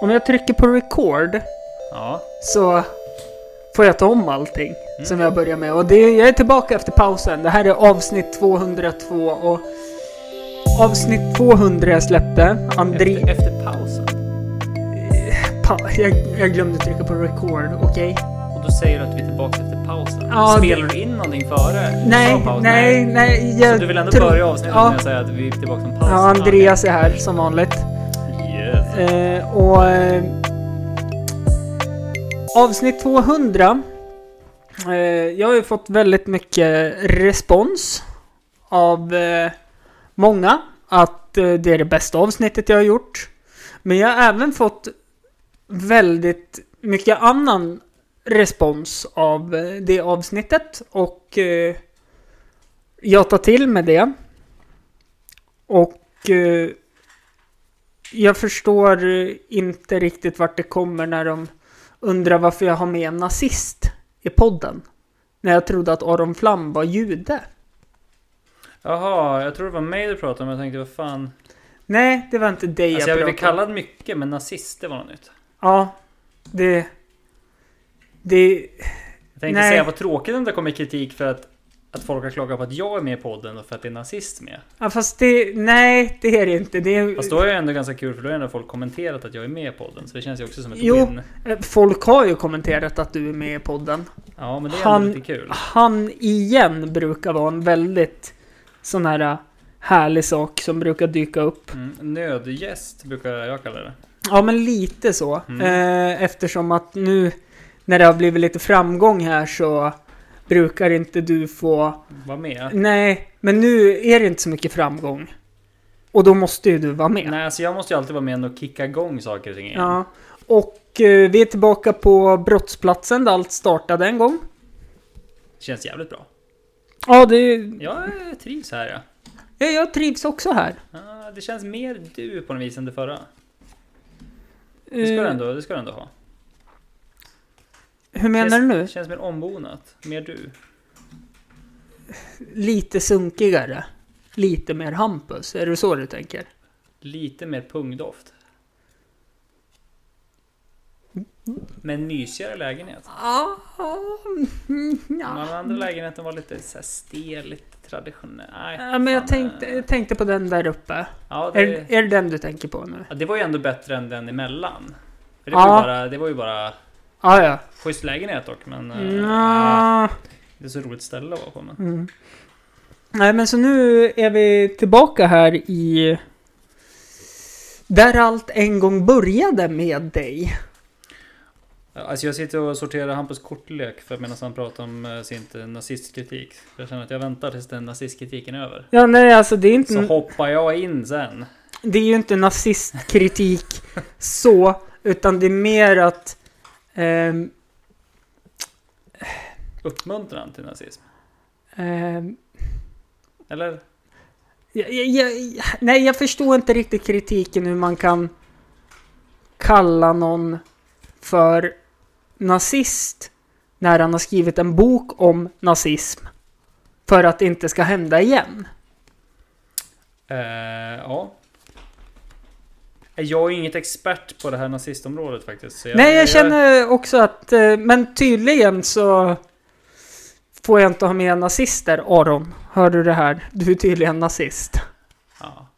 Om jag trycker på record Ja. så får jag ta om allting Mm. som jag börjar med. Och det, jag är tillbaka efter pausen. Det här är avsnitt 202 och avsnitt 200 jag släppte. Andri... Efter, efter pausen. Pa, jag, jag glömde trycka på record, okej? Och då säger du att vi är tillbaka efter pausen. Ja, Spelar du in någonting före? Nej, Sa pausen? nej, nej. Så Jag du vill ändå tror- börja avsnittet ja. med att säga att vi är tillbaka från pausen? Ja, Andreas är här som vanligt. okej. Yes. Eh, och... Eh, avsnitt 200. Eh, jag har ju fått väldigt mycket respons av eh, många. Att eh, det är det bästa avsnittet jag har gjort. Men jag har även fått väldigt mycket annan respons av eh, det avsnittet. Och eh, jag tar till med det. Och... Eh, jag förstår eh, inte riktigt vart det kommer när de undrar varför jag har med en nazist i podden. När jag trodde att Aron Flam var jude. Jaha, jag tror det var mig du pratade om. Jag tänkte vad fan. Nej, det var inte dig Alltså jag jag blev pratade om. kallad mycket men nazist det var något nytt. Ja, det... Det... Jag tänkte Nej. säga vad tråkigt om det kommer kritik för att, att folk har klagat på att jag är med i podden och för att det är nazist med. Ja, fast det... Nej, det är det inte. Det är... Fast då är det ändå ganska kul för då har ändå folk kommenterat att jag är med i podden. Så det känns ju också som ett Jo. win. Eh, Folk har ju kommenterat att du är med i podden. Ja men det är Han- ändå lite kul. Han igen brukar vara en väldigt sån här eh, härlig sak som brukar dyka upp. Mm, nödgäst brukar jag kalla det. Ja, men lite så. Mm. Eh, eftersom att nu när det har blivit lite framgång här så brukar inte du få... Var med. Nej, men nu är det inte så mycket framgång. Och då måste ju du vara med. Nej, alltså jag måste ju alltid vara med och kicka igång saker och ting igen. Ja. Och eh, vi är tillbaka på brottsplatsen där allt startade en gång. Känns jävligt bra. Ja, det är... Jag trivs här ja. ja, jag trivs också här. Ah, Det känns mer du på något vis än det förra. Det ska Eh, du ändå, det ska du ändå ha. Hur menar du känns, nu? känns mer ombonat. Mer du. Lite sunkigare. Lite mer Hampus. Är det så du tänker? Lite mer pungdoft. Men mysigare lägenhet. Ja. mm, ja. Den andra lägenheten var lite så här stel, lite traditionell. Nej, Ja, men jag fan, tänkte, eh, jag tänkte på den där uppe. Ja, Är, det, är det den du tänker på nu? ja, det var ju ändå bättre än den emellan. För det, Ja. var ju bara, det var ju bara Ah, ja, schysst lägenhet dock, men... eh, Mm, ja. Det är så roligt ställe att vara på men. Mm. Nej, men så nu är vi tillbaka här i... Där allt en gång började med dig. Alltså jag sitter och sorterar Hampus kortlek för medan han pratar om eh, sin eh, nazistkritik. Jag känner att jag väntar tills den nazistkritiken är över. Ja, nej, alltså det är Så inte... hoppar jag in sen. Det är ju inte nazistkritik så, utan det är mer att... ehm, Uppmuntran till nazism. ehm, Eller? Jag, jag, jag, nej, jag förstår inte riktigt kritiken hur man kan kalla någon för nazist när han har skrivit en bok om nazism för att det inte ska hända igen. Eh, ja. Eh, Jag är ju inget expert på det här nazistområdet faktiskt. så nej, jag känner också att, eh, men tydligen så får jag inte ha med nazister, Aron. Hör du det här? Du är tydligen nazist. Ja.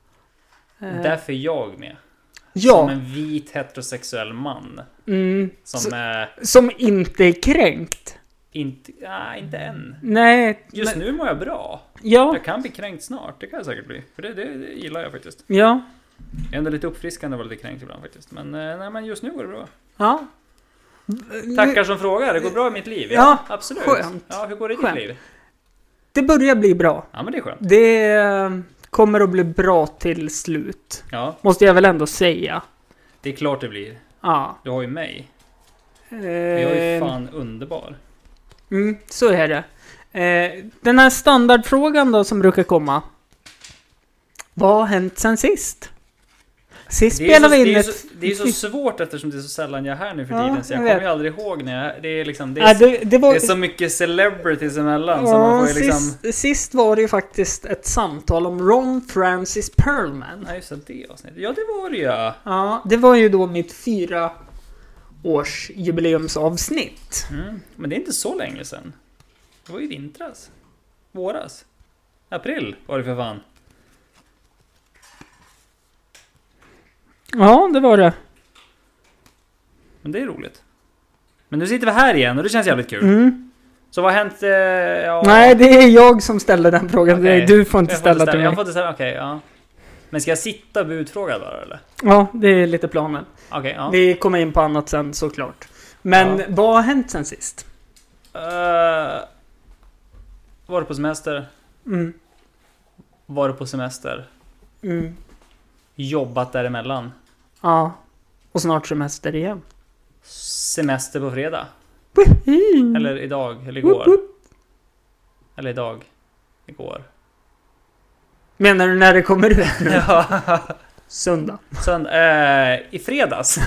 Eh, Därför är jag med. Som ja, en vit heterosexuell man. mm, Som Så- eh, som inte är kränkt. inte... Nej, inte än. Nej, Just men, nu mår jag bra. ja. Jag kan bli kränkt snart, det kan jag säkert bli. För det, det, det gillar jag faktiskt. Ja, Jag är ändå lite uppfriskande att vara lite kränkt ibland faktiskt. Men, eh, nej, men just nu går det bra. Ja. Tackar som frågar, det går bra i mitt liv. Ja, absolut. skönt. Ja, hur går det i ditt Skönt. liv? Det börjar bli bra. Ja, men det är skönt. Det eh, kommer att bli bra till slut. Ja, Måste jag väl ändå säga. det är klart det blir. Ja. Du har ju mig. Eh, Jag är ju fan underbar. mm, så är det. Eh, den här standardfrågan då som brukar komma. Vad har hänt sen sist? Sist Det är, så, spelade vi det, in är ett... så, det är så svårt eftersom det är så sällan jag är här nu för Ja, tiden så jag jag kommer vet. ju aldrig ihåg när jag... Det är liksom... Det är, Nej, det, det var... det är så mycket celebrities emellan så Ja, man får ju liksom... sist, sist var det ju faktiskt ett samtal om Ron Francis Perlman. Nej just det, det avsnittet. Ja det var det ja. Ja, det var ju då mitt fyra års jubileumsavsnitt. Mm. Men det är inte så länge sedan. Det var ju vintras. Våras. April var det för fan. Ja, det var det. Men det är roligt. Men nu sitter vi här igen och det känns jävligt kul. Mm. Så vad har hänt? Eh, ja, Nej, det är jag som ställde den frågan. Okej. Du får inte jag ställa till Jag mig. får inte ställa, okej ja. Men ska jag sitta budfråga bara eller? Ja, det är lite planen. Okej, ja. Vi kommer in på annat sen såklart. Men Ja. vad har hänt sen sist? Eh, var du på semester? Mm. Var du på semester? Mm. Jobbat däremellan? Ja. Och snart semester igen. Semester på fredag? Eller idag? Eller igår? Eller idag? Igår? Menar du när det kommer ut nu? Ja. Söndag. Sen, eh, I fredags.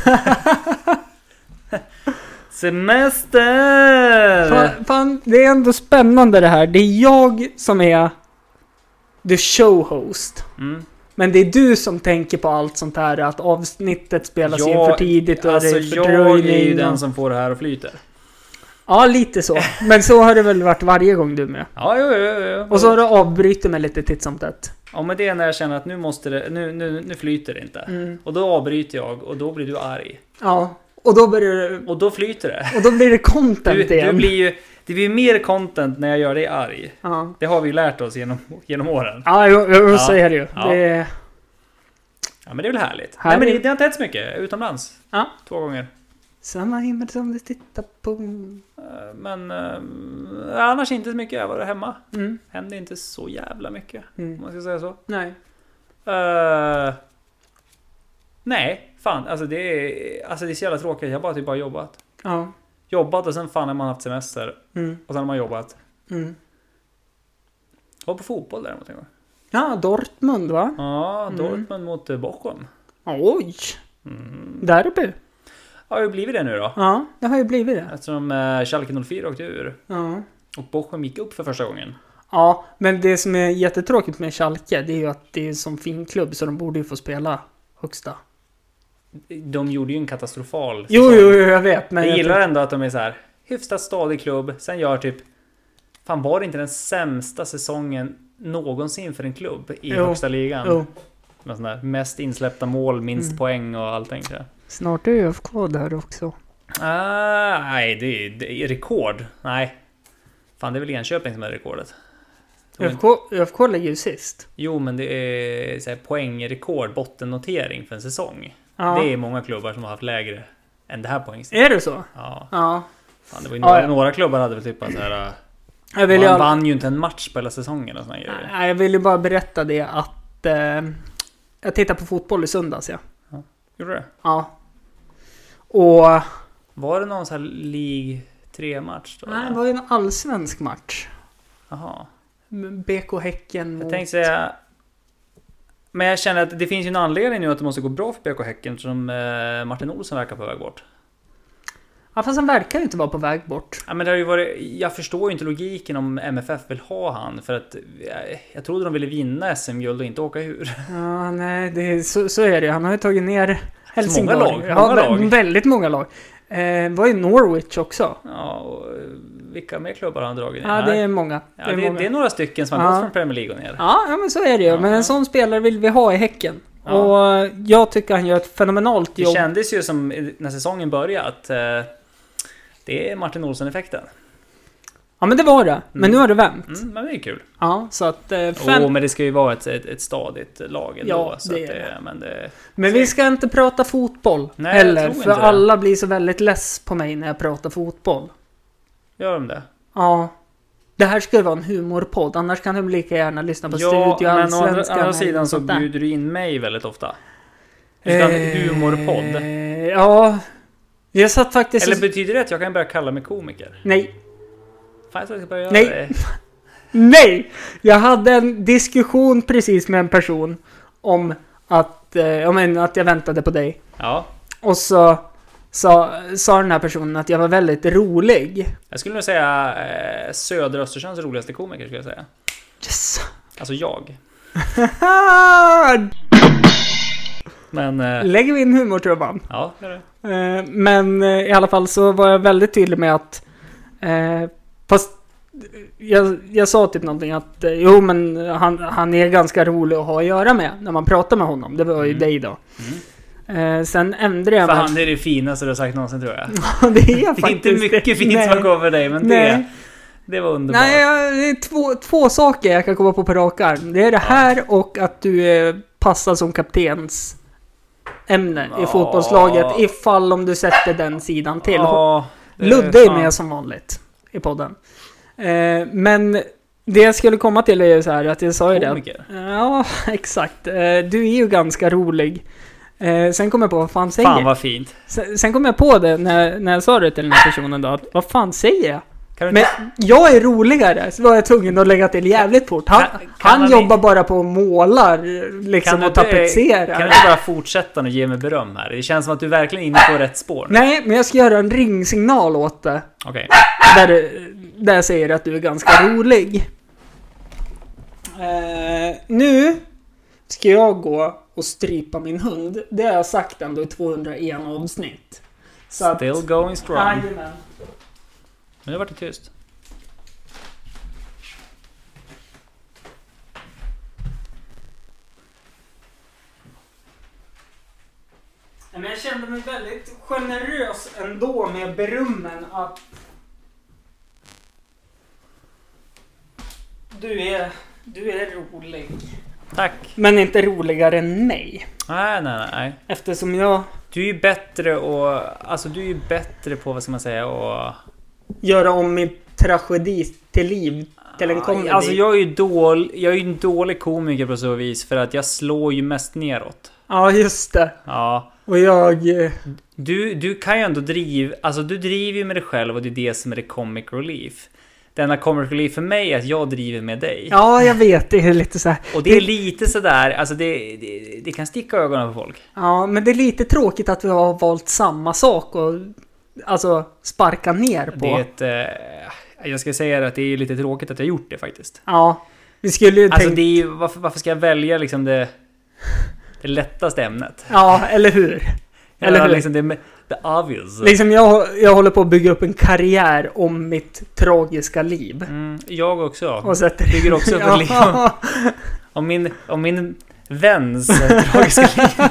Semester! Fan, fan, det är ändå spännande det här. Det är jag som är the show host. Mm. Men det är du som tänker på allt sånt här. Att avsnittet spelas in Jag- för tidigt och Alltså det är jag fördröjning. är ju den och- som får det här att flyter. Ja, lite så. Men så har det väl varit varje gång du är med. Ja, jo, jo, jo, jo. Och så har du avbrutit mig lite titt som tätt. Ja, men det är när jag känner att nu måste det, nu, nu, nu flyter det inte. Och då avbryter jag och då blir du arg. Ja, och då börjar det... Och då flyter det. Och då blir det content Du, du igen. blir ju, det blir mer content när jag gör dig arg. Ja, Det har vi ju lärt oss genom, genom åren. ja jag, jag, Ja, så är det ju. ja. Det är, Ja, men det är väl härligt. Härligt. Nej, men det, det har inte hänt så mycket. Utomlands. Ja. Två gånger. samma himmel som du tittar på. Eh, Men eh, annars inte så mycket. Jag var där hemma. Mm, Hände inte så jävla mycket. Om mm. man ska säga så. Nej. Eh, nej, fan. Alltså det, är, alltså det är så jävla tråkigt. Jag har bara typ bara jobbat. Ja. Jobbat och sen fan har man haft semester. Mm, Och sen har man jobbat. mm. Jag var på fotboll däremot en gång. Ja, Dortmund va? Ja, Mm. Dortmund mot eh, Bochum. Oj! Mm. Derby. Har ju blivit det nu då. Ja, det har ju blivit det. Eftersom eh, Schalke 04 åkte ur. Ja. Och Bochum gick upp för första gången. Ja, men det som är jättetråkigt med Schalke, det är ju att det är en sån fin klubb så de borde ju få spela högsta. De gjorde ju en katastrofal Jo, säsong. jo, jo, jag vet. Men jag jag gillar ändå att de är så här hyfsat stadig klubb, sen gör typ... Fan var det inte den sämsta säsongen någonsin för en klubb i Jo, högsta ligan? Jo, Med sån där, mest insläppta mål, minst Mm. poäng och allting. Så. snart är ÖFK där också. Ah, nej, det är, det är rekord. Nej. Fan, det är väl Enköping som är rekordet. Jo, men- ÖFK, ÖFK ligger ju sist. Jo, men det är så här, poängrekord, bottennotering för en säsong. Ja. Det är många klubbar som har haft lägre än det här poängsnittet. Är det så? Ja, Ja. fan, det var ju Ja, några, ja. några klubbar hade väl typ bara så här... äh, Jag vill, ju, man all... vann ju inte en match på hela säsongen och såna grejer. Nej, jag vill ju bara berätta det att eh, jag tittade på fotboll i söndags ja. Gjorde det? ja. Och Var det någon sån här League 3-match då? nej, eller? det var ju en allsvensk match. Jaha. BK Häcken Jag mot... tänkte säga... Men jag känner att det finns ju en anledning nu att det måste gå bra för BK Häcken eftersom eh, Martin Olsson verkar på väg bort. Ja, fast han verkar ju inte vara på väg bort. Ja, men det har ju varit, jag förstår ju inte logiken om MFF vill ha han för att eh, jag trodde de ville vinna SM-guld och inte åka ur. Ja, nej, det är, så, så är det. Han har ju tagit ner Helsingborg. Många lag, Ja, många vä- lag. Väldigt många lag. Eh, var ju Norwich också. Ja, och eh, vilka mer klubbar har han dragit ner? Ja, det är många. ja, det är många. det är några stycken som har Ja. gått från Premier League och ner. Ja, ja, men så är det ju. Ja. Men en sån spelare vill vi ha i Häcken. Ja. Och jag tycker han gör ett fenomenalt Det jobb. kändes ju som i- när säsongen började att eh, det är Martin Olsson-effekten. Ja, men det var det. Men Mm. nu har det vänt. Mm, men det är kul. Ja, så att... Eh, Åh, fem... men det ska ju vara ett, ett, ett stadigt lag ändå. Ja, så det att är det, men det, Men vi ska inte prata fotboll Nej, jag heller. tror För inte det. alla blir så väldigt less på mig när jag pratar fotboll. Gör de det? Ja. Det här ska ju vara en humorpodd, annars kan de lika gärna lyssna på Ja, Studio men å Allsvenskan. andra, andra eller sidan något så sånt där. bjuder du in mig väldigt ofta. Du ska ha en humorpodd. Eh, Ja. Jag satt faktiskt... Eller betyder det att jag kan börja kalla mig komiker? Nej. Fan, jag ska börja göra Nej. det. Nej! Jag hade en diskussion precis med en person om Att, eh, jag menar, att jag väntade på dig. Ja, Och så sa, sa den här personen att jag var väldigt rolig. jag skulle nog säga eh, södra Östersjöns roligaste komiker skulle jag säga. Yes! Alltså jag. Men eh, Lägger vi in humortrumman. ja, det är det. Eh, men eh, i alla fall så var jag väldigt tydlig med att... Eh, fast eh, jag, jag sa typ någonting att eh, jo men han, han är ganska rolig att ha att göra med när man pratar med honom. Det var ju Mm. dig då. Mm. Eh, sen ändrade jag För mig. han är det finaste du har sagt någonsin tror jag. det är Det är faktiskt inte mycket fint Nej. som kommer dig, men det, Nej. det var underbart. Nej, jag- det är två, två saker jag kan komma på på rak arm. Det är det här och att du är passad som kaptens ämne i Ja. fotbollslaget ifall om du sätter den sidan till. Eh, Ja, det Ludde är fan. med som vanligt i podden. Eh, men det jag skulle komma till är ju så här att jag sa ju det. att- Komiker. Ja, exakt. Eh, du är ju ganska rolig. Eh, sen kom jag på, vad fan säger Fan jag? vad fint. Sen, sen kom jag på det när, när jag sa det till den Ah! här personen då, att vad fan säger jag? Kan du Men jag är roligare, så var jag tvungen att lägga till jävligt fort. Han, Kan- kan han man- jobbar bara på och målar liksom Kan och du inte- tapetserar. Kan du inte bara fortsätta och ge mig beröm här? Det känns som att du verkligen är inne på rätt spår. nu. Nej, men jag ska göra en ringsignal åt det. Okej. Där, där jag säger att du är ganska rolig. Eh, nu ska jag gå och strypa min hund. Det har jag sagt ändå i 201 avsnitt. Så att... Still going strong. Men Jajamän. nu vart det tyst. Nej, Men jag kände mig väldigt generös ändå med berömmen att du är, du är rolig. Tack. Men inte roligare än mig. Nej, nej, nej. Eftersom jag Du är ju bättre och... Alltså du är ju bättre på, vad ska man säga, och... gör om min tragedi till liv. Till en komedi. Alltså jag är ju dålig... Jag är ju en dålig komiker på så vis för att jag slår ju mest neråt. Ja, just det. Ja. Och jag... eh, Du, du kan ju ändå driva, alltså du driver ju med dig själv och det är det som är det comic relief. Det enda comic relief för mig är att jag driver med dig. Ja, jag vet. Det är lite så här. Och det är lite sådär, alltså det, det, det kan sticka ögonen på folk. Ja, men det är lite tråkigt att vi har valt samma sak och... Alltså, sparka ner på. Det är ett, eh, jag ska säga att det är lite tråkigt att jag gjort det faktiskt. Ja. Vi skulle ju Alltså tänkt... det är ju, varför, varför ska jag välja liksom det, det lättaste ämnet? Ja, eller hur? Eller Eller hur? liksom det, med- the obvious. Liksom jag, jag håller på att bygga upp en karriär om mitt tragiska liv. Mm, jag också. Och sätter... Bygger också upp en liksom. ja. Om min, om min väns tragiska liv.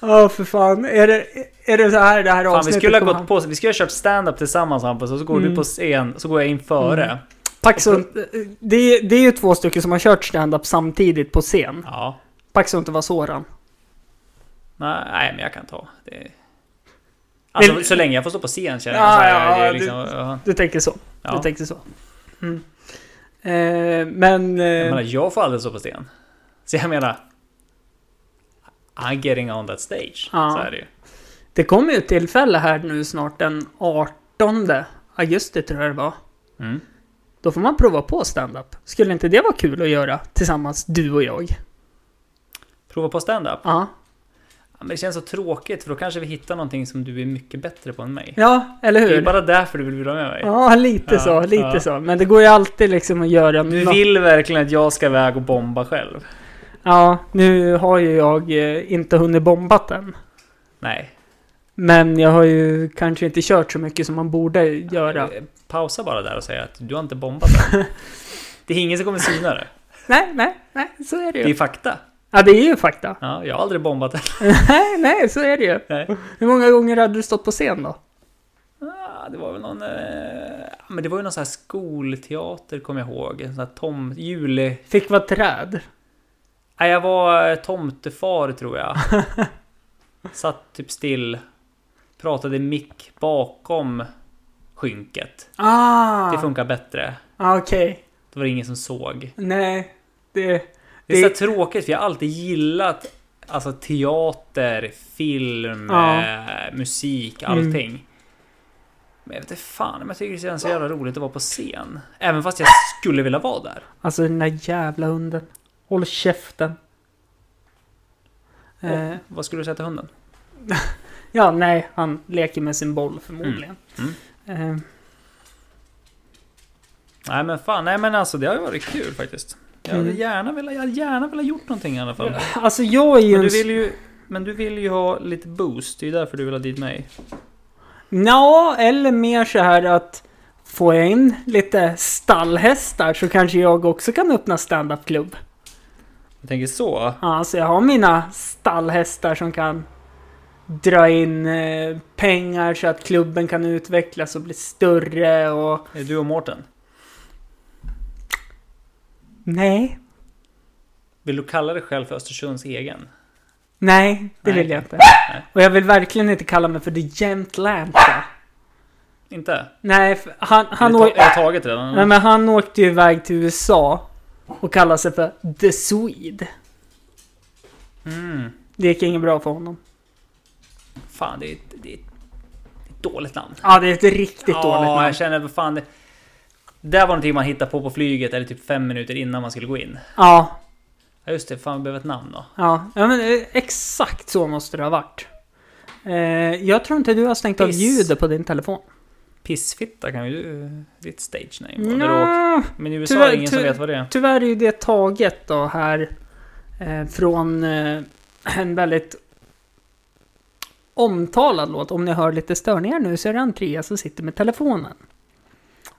ja, för fan. Är det, är det så här det här Fan, vi avsnittet skulle ha kommer gått på, vi skulle ha kört stand-up tillsammans Hampus, och så går Mm. du på scen, så går jag in före. Mm. Paxson, det, är- det är ju två stycken som har kört stand-up samtidigt på scen. Ja. Paxson inte var Soran. Nej, nej, men jag kan ta. Det... Alltså, Men- så länge jag får stå på scen känner Ja, jag. Så här, ja, det ja, är liksom, ja, Du tänker så. Du ja. tänker så. Mm. Eh, men... Jag Eh, menar, jag får aldrig stå på scen. Så jag menar... I'm getting on that stage. Ja. Så är det ju. det kommer ju ett tillfälle här nu snart den 18 augusti tror jag det var. Mm. Då får man prova på stand-up. Skulle inte det vara kul att göra tillsammans, du och jag? Prova på stand-up. Ja. Ja, men det känns så tråkigt för då kanske vi hittar någonting som du är mycket bättre på än mig. Ja, eller Det är hur? bara därför du vill vara med mig. Ja, lite Ja, så. Lite ja. så. Men det går ju alltid liksom att göra Du nå- vill verkligen att jag ska iväg och bomba själv. Ja, nu har ju jag eh, inte hunnit bombat än. Nej, Men jag har ju kanske inte kört så mycket som man borde göra. Eh, Pausa bara där och säga att du har inte bombat den. Det är ingen som kommer syna det. Nej, nej, nej, så är det Det är ju. fakta. Ja, det är ju fakta. Ja, jag har aldrig bombat den. Nej, nej, så är det ju. Nej. Hur många gånger hade du stått på scen då? Ah, Det var väl någon... eh, Men det var ju någon sån här skolteater kommer jag ihåg. En sån här tom... Jule... Fick vara träd. Nej, jag var eh, tomtefar tror jag. Satt typ still. Pratade i mick bakom skynket. Ah, Det funkar bättre. ah okej. Det var det ingen som såg. Nej, det... Det är Det- så här tråkigt för jag har alltid gillat alltså, teater, film, Ja. Mm. eh, musik, allting. Men jag vet inte fan men jag tycker det känns så jävla roligt att vara på scen. Även fast jag skulle vilja vara där. Alltså den där jävla hunden. Håll käften. Eh, Och, vad skulle du säga till hunden? ja, nej, han leker med sin boll förmodligen. Mm. Eh, Nej men fan, nej men alltså det har ju varit kul faktiskt. Jag hade Mm. gärna velat, jag hade gärna velat gjort någonting i alla fall. alltså jag är ju Men du en... vill ju, men du vill ju ha lite boost, det är ju därför du vill ha dit mig. Ja, eller mer så här att får jag in lite stallhästar så kanske jag också kan öppna standup-klubb. Jag tänker så. Ja, så jag har mina stallhästar som kan dra in eh, pengar så att klubben kan utvecklas och bli större och... Är det du och Mårten? Nej. Vill du kalla dig själv för Östersunds egen? Nej, det Nej. vill jag inte. Och jag vill verkligen inte kalla mig för The Gentlanta. Inte? Nej, för han, han, är, det åk... ta, är det taget redan? Nej, men han åkte ju iväg till USA och kallade sig för The Swede. Mm. Det gick inget bra för honom. Fan, det är, ett- det är ett ett dåligt namn. Ja, det är ett riktigt dåligt Ja, namn. jag känner vad fan. Det, det där var någonting man hittade på på flyget eller typ fem minuter innan man skulle gå in. Ja, Ja just det, fan vi behöver ett namn då. ja. ja men eh, exakt så måste det ha varit. Eh, jag tror inte du har stängt av Piss. ljudet på din telefon. Pissfitta kan ju du... Ditt stage name. var, när du åkte. Nå, Men i USA är Tyvärr- det ingen som ty- vet vad det är. tyvärr är ju det taget då här eh, från eh, en väldigt omtalad låt. Om ni hör lite störningar nu så är det Andreas som sitter med telefonen.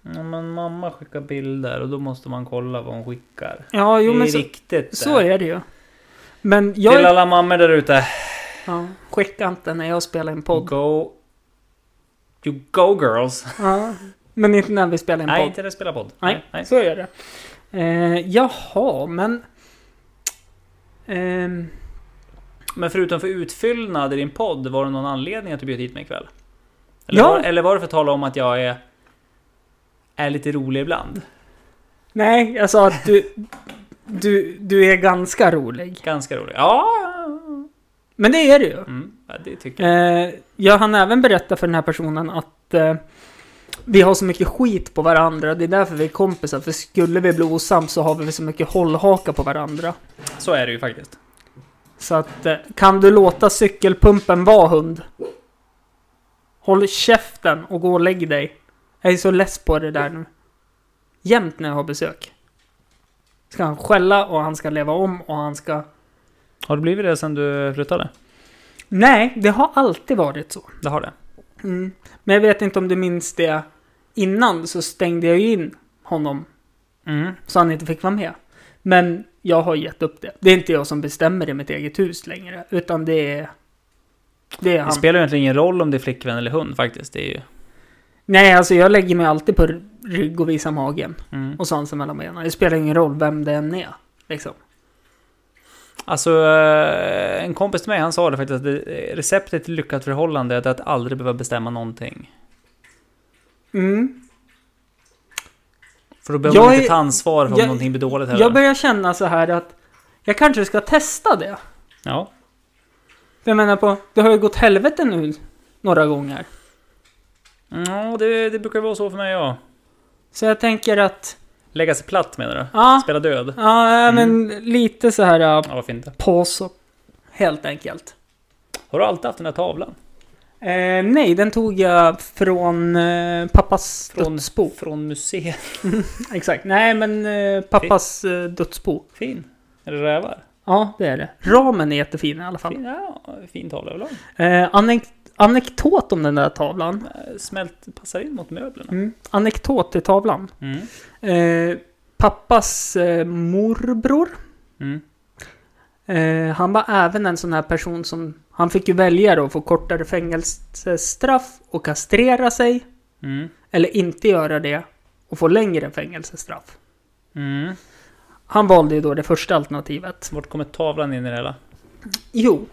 Ja, men mamma skickar bilder och då måste man kolla vad hon skickar. Ja, jo det är men så, riktigt. så är det ju. Men jag... Till jag... alla mammor där ute. Ja, skicka inte när jag spelar en podd. Go... You go girls. Ja, men inte när vi spelar en Nej, podd. inte det spela podd. Nej, så är det. Eh, jaha, men... Ehm, Men förutom för utfyllnad i din podd, var det någon anledning att du bjöd hit mig ikväll? Eller, Ja. var, eller var det för att tala om att jag är... Är lite rolig ibland? nej, jag sa att du, du, du är ganska rolig. Ganska rolig. Ja! Men det är du ju. Mm, ja, det tycker jag. Eh, jag hann även berätta för den här personen att eh, vi har så mycket skit på varandra. Det är därför vi är kompisar. För skulle vi bli osams så har vi så mycket hållhaka på varandra. Så är det ju faktiskt. Så att, eh, kan du låta cykelpumpen vara hund? Håll käften och gå och lägg dig. Jag är så less på det där nu. Jämt när jag har besök. Ska han skälla och han ska leva om och han ska... Har det blivit det sen du flyttade? Nej, det har alltid varit så. Det har det. Mm. Men jag vet inte om du minns det. Innan så stängde jag ju in honom Mm. så han inte fick vara med. Men jag har gett upp det. Det är inte jag som bestämmer i mitt eget hus längre. Utan det är... Det är Det han. spelar ju egentligen ingen roll om det är flickvän eller hund faktiskt. Det är ju... Nej, alltså jag lägger mig alltid på rygg och visar magen. Mm. Och svansen mellan benen. Det spelar ingen roll vem det än är. Liksom. Alltså, eh, en kompis till mig han sa det faktiskt att det- receptet till lyckat förhållande är att aldrig behöva bestämma någonting. Mm. För då behöver Jag man inte är- ta ansvar för om jag- någonting blir dåligt heller. Jag börjar känna så här att jag kanske ska testa det. Ja. För jag menar på, det har ju gått helvete nu några gånger. ja, det, det brukar vara så för mig ja. Så jag tänker att, Lägga sig platt menar du? ja, Spela död? ja äh, men Mm. lite så här äh, Ja, varför inte? på så. Helt enkelt. Har du alltid haft den här tavlan? Eh, nej, den tog jag från eh, pappas Från- dödsbo. Från museet? Exakt. Nej, men eh, pappas eh, dödsbo. Fin. Är det rävar? Ja, det är det. Ramen är jättefin i alla fall. Fin, ja, fin tavla överlag. Eh, anek anekdot om den där tavlan. Eh, Smält, passar in mot möblerna. Mm. Anekdot till tavlan. Mm. Eh, pappas eh, morbror, Mm. eh, han var även en sån här person som... Han fick ju välja då att få kortare fängelsestraff och kastrera sig. Mm. Eller inte göra det och få längre fängelsestraff. Mm. Han valde ju då det första alternativet. Vart kommer tavlan in i det hela? Jo,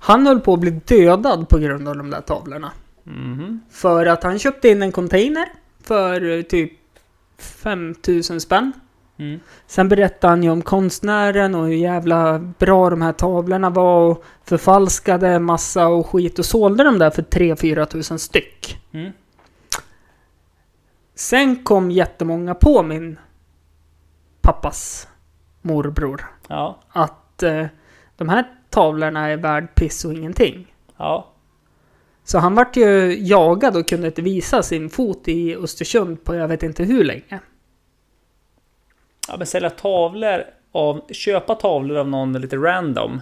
han höll på att bli dödad på grund av de där tavlorna. Mhm. För att han köpte in en container för eh, typ 5000 spänn. Mm. Sen berättade han ju om konstnären och hur jävla bra de här tavlorna var och förfalskade massa och skit och sålde dem där för 3-4 tusen styck. Mm. Sen kom jättemånga på min pappas morbror Ja. att eh, de här tavlorna är värd piss och ingenting. Ja. Så han vart ju jagad och kunde inte visa sin fot i Östersund på jag vet inte hur länge. ja, men sälja tavlor av... Köpa tavlor av någon lite random.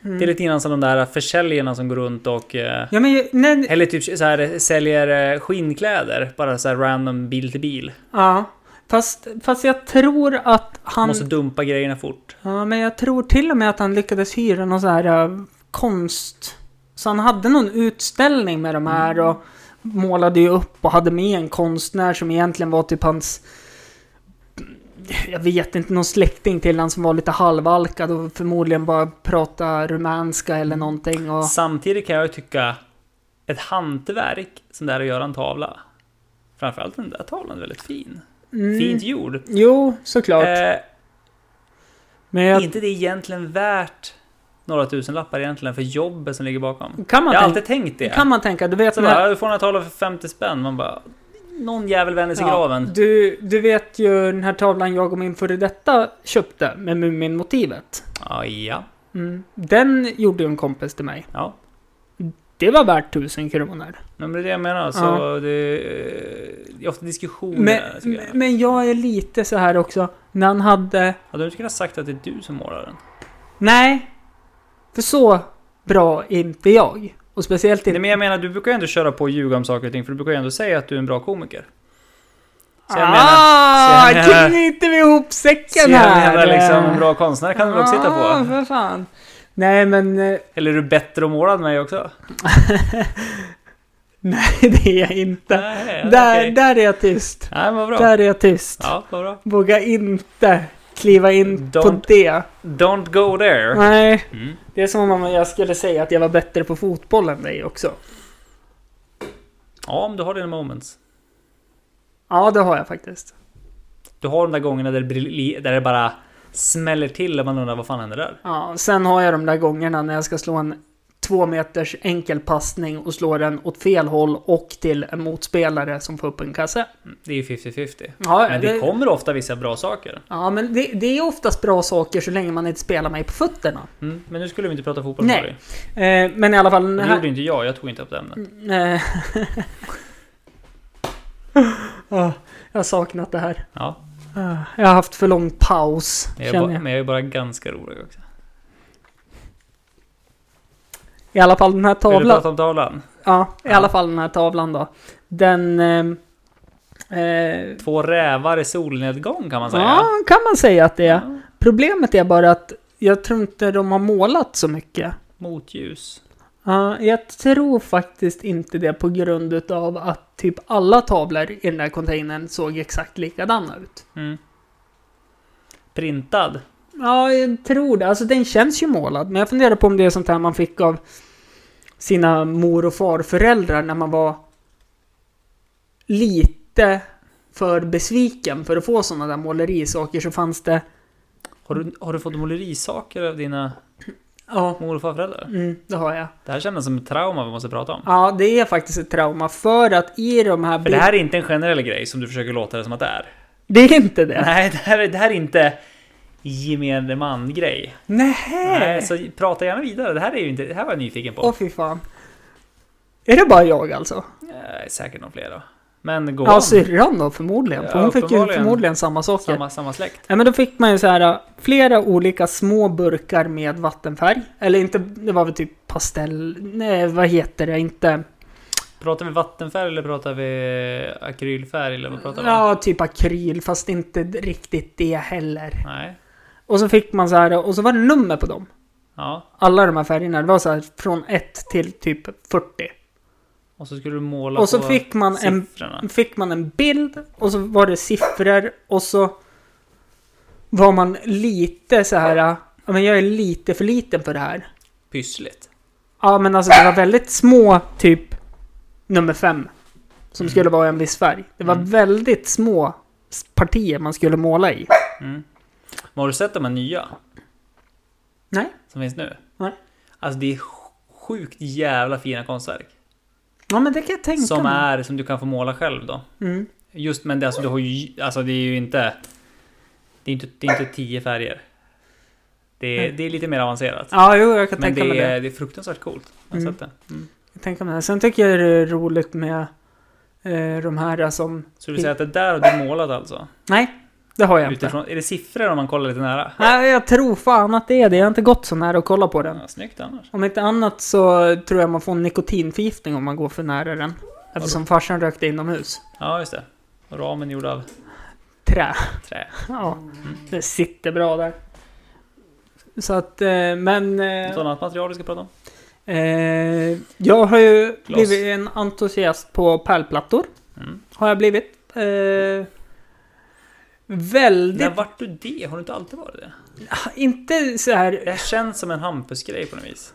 Det är lite grann som de där försäljarna som går runt och... eh, Ja men, nej, Eller typ så här, säljer eh, skinnkläder. Bara så här random bil till bil. ja. Fast, fast jag tror att han... Måste dumpa grejerna fort. Ja, men jag tror till och med att han lyckades hyra någon så här eh, konst. Så han hade någon utställning med de här och målade ju upp och hade med en konstnär som egentligen var typ hans... Jag vet inte, någon släkting till han som var lite halvalkad och förmodligen bara pratade rumänska eller någonting och... Samtidigt kan jag ju tycka... Ett hantverk som det är att göra en tavla. Framförallt den där tavlan är väldigt fin. Mm. Fint gjord. Jo, såklart. Eh, men jag, inte det egentligen värt några tusenlappar egentligen för jobbet som ligger bakom? kan, Jag man har tänka, alltid tänkt det. kan man tänka, du vet Så när- bara, du får den här tavlan för 50 spänn. Man bara... Någon jävel vänder sig i Ja, graven. Du, du vet ju den här tavlan jag och min före detta köpte med Mumin-motivet. Ja, ja. Mm. Den gjorde ju en kompis till mig. ja. Det var värt tusen kronor. Men det är det jag menar. Så Ja. det, eh, det är ofta diskussioner. Men, tycker jag. men jag är lite så här också. När han hade... Hade du inte kunnat sagt att det är du som målar den? Nej. För så bra är inte jag. Och speciellt Nej, inte... men jag menar, du brukar ju ändå köra på och ljuga om saker och ting. För du brukar ju ändå säga att du är en bra komiker. Så jag menar... ah! så jag menar- Knyter vi ihop Så jag säcken här? menar liksom, en bra konstnär kan du väl också sitta Ah, på? för fan. Nej men... eh, Eller är du bättre och målad än mig också? Nej, det är jag inte. Nej, Där, okej. där är jag tyst. Nej, vad bra. Där är jag tyst. Ja, vad bra. Våga inte kliva in på Don't- det. Don't go there. Nej. Mm. Det är som om jag skulle säga att jag var bättre på fotboll än dig också. Ja, men du har dina moments. Ja, det har jag faktiskt. Du har de där gångerna där det, brilj- där det bara smäller till och man undrar vad fan händer där? Ja, sen har jag de där gångerna när jag ska slå en två meters enkel passning och slå den åt fel håll och till en motspelare som får upp en kasse. Mm, Det är ju 50-50. Ja, Men det kommer ofta vissa bra saker. ja, men det, det är oftast bra saker så länge man inte spelar mig på fötterna. Mm. Men nu skulle vi inte prata fotboll Nej. med dig. Eh, men i alla fall... den Det här- gjorde inte jag, jag tog inte upp det ämnet. Eh, Ah, jag har saknat det här. Ja, Ah, Jag har haft för lång paus, men jag, är bara, känner jag. men jag är bara ganska rolig också. I alla fall den här Vill du tavlan. prata om tavlan? Ja, i Ja. alla fall den här tavlan då. Den... ehm, Eh, Två rävar i solnedgång kan man säga. ja, kan man säga att det är. Ja. Problemet är bara att jag tror inte de har målat så mycket. Motljus. Ja, jag tror faktiskt inte det på grund utav att typ alla tavlor i den där containern såg exakt likadana ut. Mm. Printad. Ja, jag tror det. Alltså den känns ju målad. Men jag funderar på om det är sånt här man fick av sina mor och farföräldrar när man var lite för besviken för att få sådana där målerisaker så fanns det... Har du, har du fått målerisaker av dina Ja, mor och farföräldrar? mm, det har jag. Det här känns som ett trauma vi måste prata om. Ja, det är faktiskt ett trauma för att i de här... För det här är inte en generell grej som du försöker låta det som att det är. Det är inte det? Nej, det här, är- det här är inte gemene man-grej. Nej, Nej. så prata gärna vidare. Det här, är ju inte, det här var jag nyfiken på. Åh fy fan. Är det bara jag alltså? Eh, säkert någon fler då. Men gå Ja, om. syrran då förmodligen. Ja, För hon fick ju uppenbarligen. förmodligen samma saker. Samma, samma släkt. Ja, men då fick man ju så här äh, flera olika små burkar med vattenfärg. Eller inte, det var väl typ pastell... Nej, vad heter det? Inte... Pratar vi vattenfärg eller pratar vi akrylfärg eller vad pratar vi om? Ja, typ akryl, fast inte riktigt det heller. Nej. Och så fick man så här, och så var det nummer på dem. Ja. Alla de här färgerna, det var så här från 1 till typ 40. Och så skulle du måla Och så på fick man en siffrorna. fick man en bild och så var det siffror och så var man lite så här, äh, ja men jag är lite för liten för det här. Pyssligt. Ja, men alltså det var väldigt små, typ nummer fem. Som skulle vara en viss färg. Det var Mm. väldigt små s- partier man skulle måla i. Mm. Men har du sett de här nya? Nej. Som finns nu? Nej. Alltså det är sj- sjukt jävla fina konstverk. Ja, men det kan jag tänka Som mig. är, som du kan få måla själv då. Mm. Just men det, alltså, du har ju, alltså det är ju inte... Det är inte, det är inte tio färger. Det, är- det är lite mer avancerat. Ja, jo, jag kan Men tänka mig det det. är, det är fruktansvärt coolt. Jag har Mm. sett det. Mm. Jag tänker mig det. Sen tycker jag det är roligt med eh, de här som... Så du säger att det där har du målat alltså? Nej, det har jag inte. Utifrån, är det siffror om man kollar lite nära? Nej, jag tror fan att det är det. Jag har inte gått så nära och kollat på den. Ja, snyggt annars. Om inte annat så tror jag man får en nikotinförgiftning om man går för nära den. Eftersom farsan rökte inomhus. Ja, just det. Och ramen är gjord av Trä. trä. Ja, det sitter bra där. Så att, eh, men... Något Eh, annat material du ska prata om? eh, jag har ju Glas. blivit en entusiast på pärlplattor. Mm. Har jag blivit. Eh, väldigt... När vart du det? Har du inte alltid varit det? Inte så här... Det här känns som en Hampus-grej på något vis.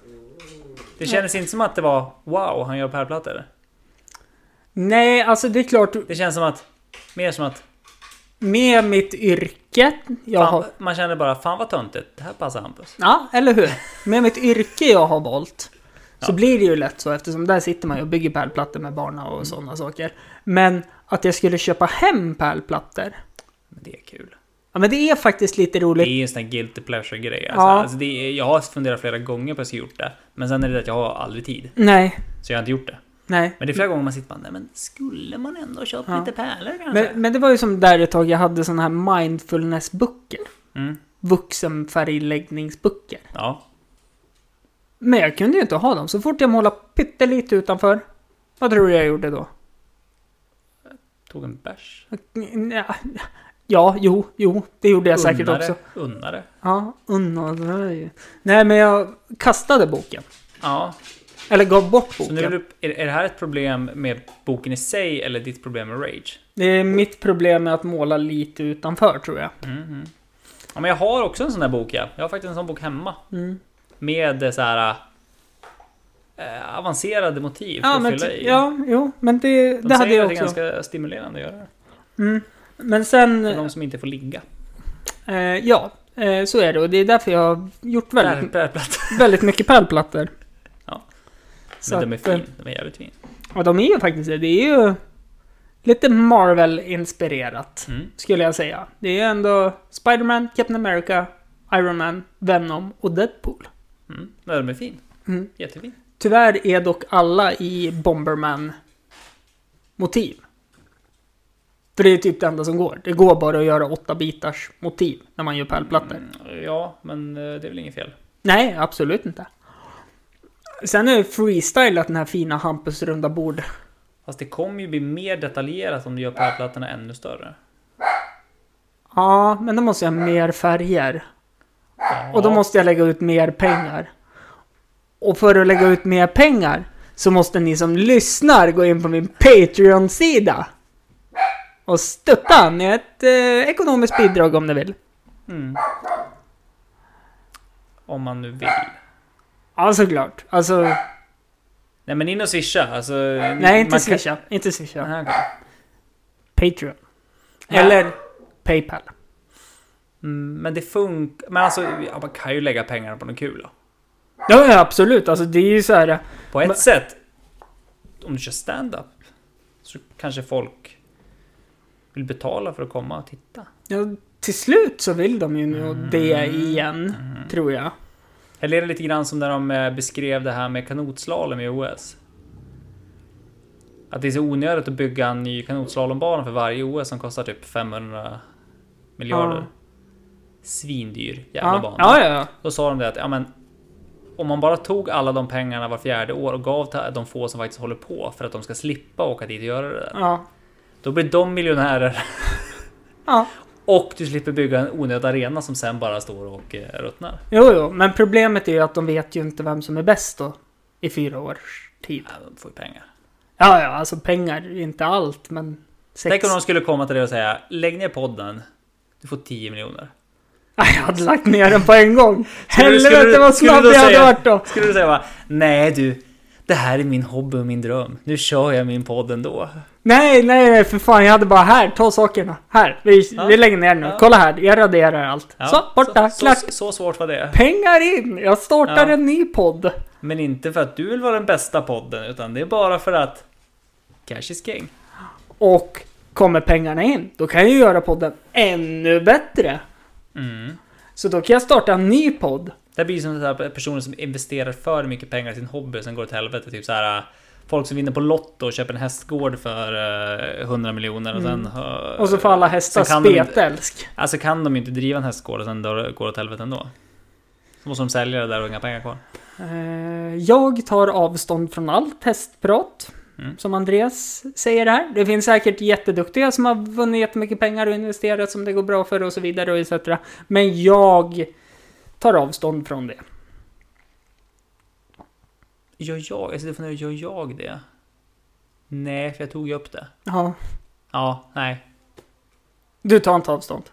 Det kändes inte som att det var wow, han gör pärlplattor. Nej, alltså det är klart. Det känns som att... Mer som att... Med mitt yrke. Jag Fan, har, man känner bara fan vad töntigt. Det här passar Hampus. ja, eller hur? Med mitt yrke jag har valt. Så blir det ju lätt så eftersom där sitter man ju och bygger pärlplattor med barna och sådana saker. Men att jag skulle köpa hem pärlplattor. Men det är kul. Ja men det är faktiskt lite Det är roligt. ju en sån här guilty pleasure-grej. Alltså. Ja. Alltså, det är, jag har funderat flera gånger på att jag ska gjort det. Men sen är det att jag har aldrig tid. Nej, Så jag har inte gjort det. nej. Men det är flera gånger man sitter bara, nej men skulle man ändå köpt Mm. Ja. lite pärlor kanske? Men, men det var ju som där ett tag jag hade sådana här mindfulness-böcker. Mm. Vuxenfärgläggningsböcker. Ja. Men jag kunde ju inte ha dem. Så fort jag målade pyttelite utanför. Vad tror du jag gjorde då? Tog en bärs. Nja, Ja, jo, jo, det gjorde jag säkert Unnare, också. Unnare. Ja, unnade ju. Nej, men jag kastade boken. Ja. Eller gav bort Så nu är, boken. du, är, är det här ett problem med boken i sig eller ditt problem med rage? Det är mitt problem med att måla lite utanför, tror jag. Mhm. Ja, men jag har också en sån där bok ja. Jag har faktiskt en sån bok hemma. Mm. Med eh, så här... Eh, avancerade motiv för Ja, att men, fylla ty- i. ja, jo, men det, De det hade säger jag att också. det är ganska stimulerande att göra det. Mm. Men sen, För de som inte får ligga. eh, ja, eh, så är det. Och det är därför jag har gjort Pär, väldigt, pärlplatt. väldigt mycket pärlplattor. Ja. Så Men de är att, eh, fin. De är jävligt fin. Ja, de är ju faktiskt det. Det är ju lite Marvel-inspirerat, Mm. skulle jag säga. Det är ändå Spider-Man, Captain America, Iron Man, Venom och Deadpool. Mm. Nej, de är fin. Mm. Jättefin. Tyvärr är dock alla i Bomberman-motiv. För det är typ det enda som går. Det går bara att göra åtta bitars motiv när man gör pärlplattor. Mm, ja, men eh, det är väl inget fel. Nej, absolut inte. Sen är det freestylat den här fina Hampus runda bord. Fast det kommer ju bli mer detaljerat om du gör pärlplattorna ännu större. Ja, men då måste jag ha mer färger. Ja. Och då måste jag lägga ut mer pengar. Och för att lägga ut mer pengar så måste ni som lyssnar gå in på min Patreon-sida. Och stötta med ett eh, ekonomiskt bidrag om ni vill. Mm. Om man nu vill. Ja, såklart. Alltså, Nej men in och swisha. Alltså, nej inte swisha. Inte swisha. Nej, okej. Patreon. Ja. Eller Paypal. Mm, men det funkar. Men alltså, ja, man kan ju lägga pengarna på något kul då. Ja, ja, absolut. Alltså det är ju så här. På ett Men- sätt. Om du kör stand-up. Så kanske folk vill betala för att komma och titta. Ja, till slut så vill de ju nog det igen, tror jag. Eller är det lite grann som när de eh, beskrev det här med kanotslalom i OS? Att det är så onödigt att bygga en ny kanotlslalombana för varje OS som kostar typ 500 miljarder. Ja. Svindyr jävla Ja, bana. ja, ja. Då sa de det att ja, men, om man bara tog alla de pengarna var fjärde år och gav till de få som faktiskt håller på för att de ska slippa åka dit och göra det där. ja. Då blir de miljonärer ja. och du slipper bygga en onödig arena som sen bara står och eh, ruttnar. Jo, jo, men problemet är ju att de vet ju inte vem som är bäst då. I fyra års tid. Ja, de får ju pengar. Ja, ja, alltså pengar är inte allt, men... Sex... Tänk om de skulle komma till dig och säga Lägg ner podden Du får 10 miljoner Ja, jag hade lagt ner den på en gång. Skulle du- skulle Helvete du- vad skulle snabb du då jag hade säga- varit då. Skulle du säga bara Nej du Det här är min hobby och min dröm Nu kör jag min podd ändå Nej, nej, nej, för fan. Jag hade bara här, ta sakerna. Här, vi, Ja. vi lägger ner nu. Ja. Kolla här, jag raderar allt. Ja, så, borta, så, klart. så, så svårt var det Pengar in! Jag startar Ja. en ny podd. Men inte för att du vill vara den bästa podden Utan det är bara för att Cash is king Och kommer pengarna in, då kan jag ju göra podden ännu bättre. mm. Så då kan jag starta en ny podd. Det blir som sådana här personer som investerar för mycket pengar i sin hobby och sen går det till helvete. Typ så här, äh, folk som vinner på Lotto och köper en hästgård för äh, 100 miljoner och sen... äh, Mm. Och så får alla hästar sen kan de inte- spetälsk. Alltså kan de ju inte driva en hästgård och sen då går det åt helvete ändå. Så måste de sälja det där och inga pengar kvar. Eh, Jag tar avstånd från allt hästprat. Mm. Som Andreas säger här. Det finns säkert jätteduktiga som har vunnit jättemycket pengar och investerat som det går bra för och så vidare och etc. Men jag tar avstånd från det. Gör jag, alltså det funderar, gör jag det? Nej, för jag tog ju upp det. Ja. Ja, nej. Du tar inte avstånd?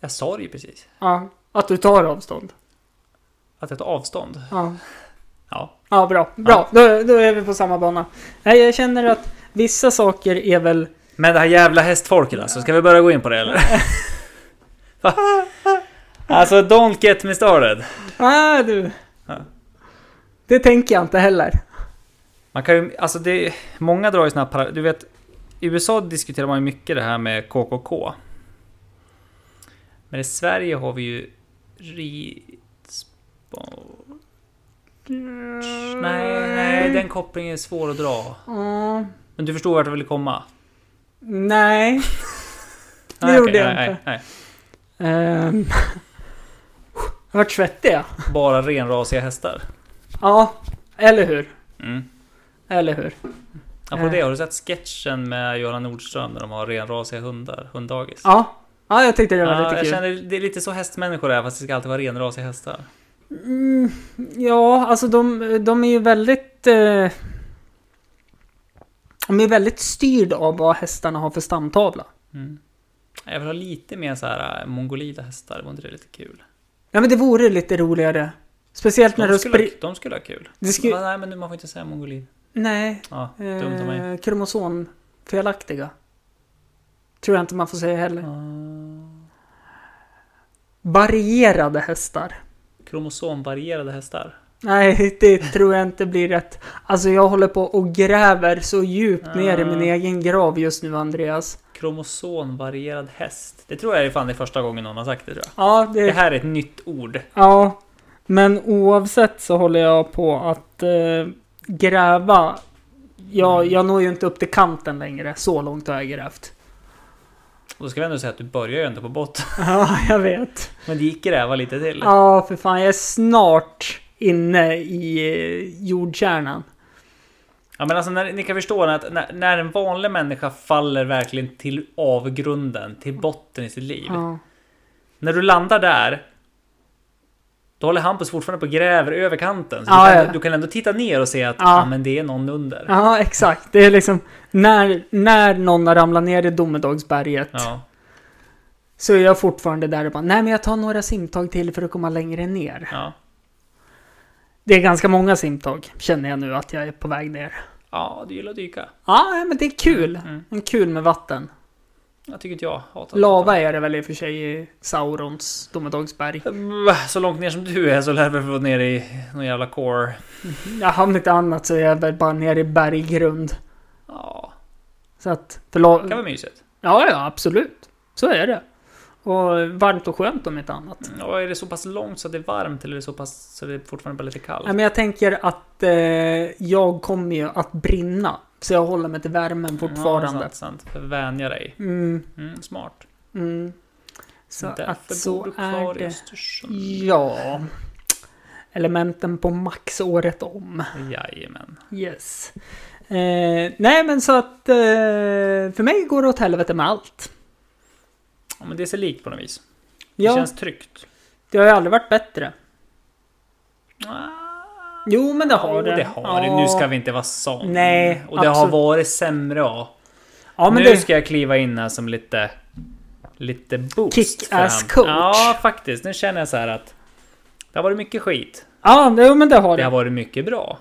Jag sa det ju precis. Ja. Att du tar avstånd? Att jag tar avstånd. Ja. Ja. Ja, bra. Bra. Då, då är vi på samma bana. Nej, jag känner att vissa saker är väl... Men det här jävla hästfolket alltså, ska vi börja gå in på det eller? Va? alltså, don't get me started. Nej, Ah, du. Ja. Det tänker jag inte heller. Man kan ju, alltså det, många drar ju såna här para- Du vet, i USA diskuterar man ju mycket det här med KKK. Men i Sverige har vi ju ridsport... Nej, nej, den kopplingen är svår att dra. Mm, Men du förstår vart jag ville komma? nej. Det Nej, gjorde okej, jag nej, inte. Nej, Ehm. Jag vart svettig jag. nej. Bara renrasiga hästar. Ja, eller hur? Mm. Eller hur? Apropå Eh. det, har du sett sketchen med Göran Nordström när de har renrasiga hundar? Hunddagis? Ja. Ja, jag tyckte det var Ja, lite jag kul. känner, det är lite så hästmänniskor är, fast det ska alltid vara renrasiga hästar. Mm, ja, alltså de, de är ju väldigt... Eh, de är väldigt styrda av vad hästarna har för stamtavla. Mm. Jag vill ha lite mer så här äh, mongolida hästar, vore inte det lite kul? Ja, men det vore lite roligare. Speciellt när De du skulle, springer... ha- de skulle ha kul. Det skulle- Va, Nej men nu, man får inte säga mongolid. Nej. Ja, dumt av mig. Eh, kromosomfelaktiga. Tror jag inte man får säga heller. Ah, Varierade hästar. kromosomvarierade hästar. Nej, det tror jag inte blir rätt. Alltså jag håller på och gräver så djupt ner i min Ah. egen grav just nu Andreas. Kromosomvarierad häst. Det tror jag är fan det är första gången någon har sagt det tror jag. Ja, Det det... här är ett nytt ord. Ja. Men oavsett så håller jag på att eh, gräva. Jag, Mm. jag når ju inte upp till kanten längre. Så långt har jag grävt. Och då ska vi ändå säga att du börjar ju ändå på botten. Ja, jag vet. Men det gick gräva lite till. Ja, för fan. Jag är snart inne i eh, jordkärnan. Ja men alltså när, ni kan förstå att när, när en vanlig människa faller verkligen till avgrunden, till botten i sitt liv. Ja. När du landar där. Då håller Hampus fortfarande på och gräver över kanten. Så Ja, du, kan, ja. du kan ändå titta ner och se att Ja. ah, men det är någon under. Ja. ja, exakt. Det är liksom när, när någon har ramlat ner i domedagsberget så är jag fortfarande där och bara nej, men jag tar några simtag till för att komma längre ner. Ja. Det är ganska många simtag känner jag nu att jag är på väg ner. ja, du gillar att dyka. Ja, men det är kul. Mm. En kul med vatten. Jag tycker inte jag hatar Lava är det väl i och för sig i Saurons domedagsberg. Mm, Så långt ner som du är så lär vi få ner i någon jävla core. Ja, om inte annat så är jag väl bara nere i berggrund. Ja, Så att, för la- det kan vara mysigt. Ja, ja, absolut. Så är det. Och varmt och skönt om inte annat. Mm, Och är det så pass långt så att det är varmt eller är det så pass så det är fortfarande bara lite kallt? Nej, men jag tänker att eh, jag kommer ju att brinna. Så jag håller mig till värmen Ja, fortfarande. sant, sant. För att vänja dig. Mm, Mm, smart. mm. Så att bor så du är kvar i det. Östersund. Ja. Elementen på max året om. Jajamän. Yes. Eh, nej men så att eh, för mig går det åt helvete med allt. Ja, men det är så likt på något vis. Det Ja, känns tryggt. det har ju aldrig varit bättre. Ah. Jo men det har Jo, det. det har ja. det. Nu ska vi inte vara sån. Nej, Och det absolut. har varit sämre av. Ja men nu det... ska jag kliva in här som lite... Lite boost. Kick-ass fram. coach. Ja, faktiskt. Nu känner jag så här att... Det har varit mycket skit. Ja, det, jo, men det har Det har det. varit mycket bra.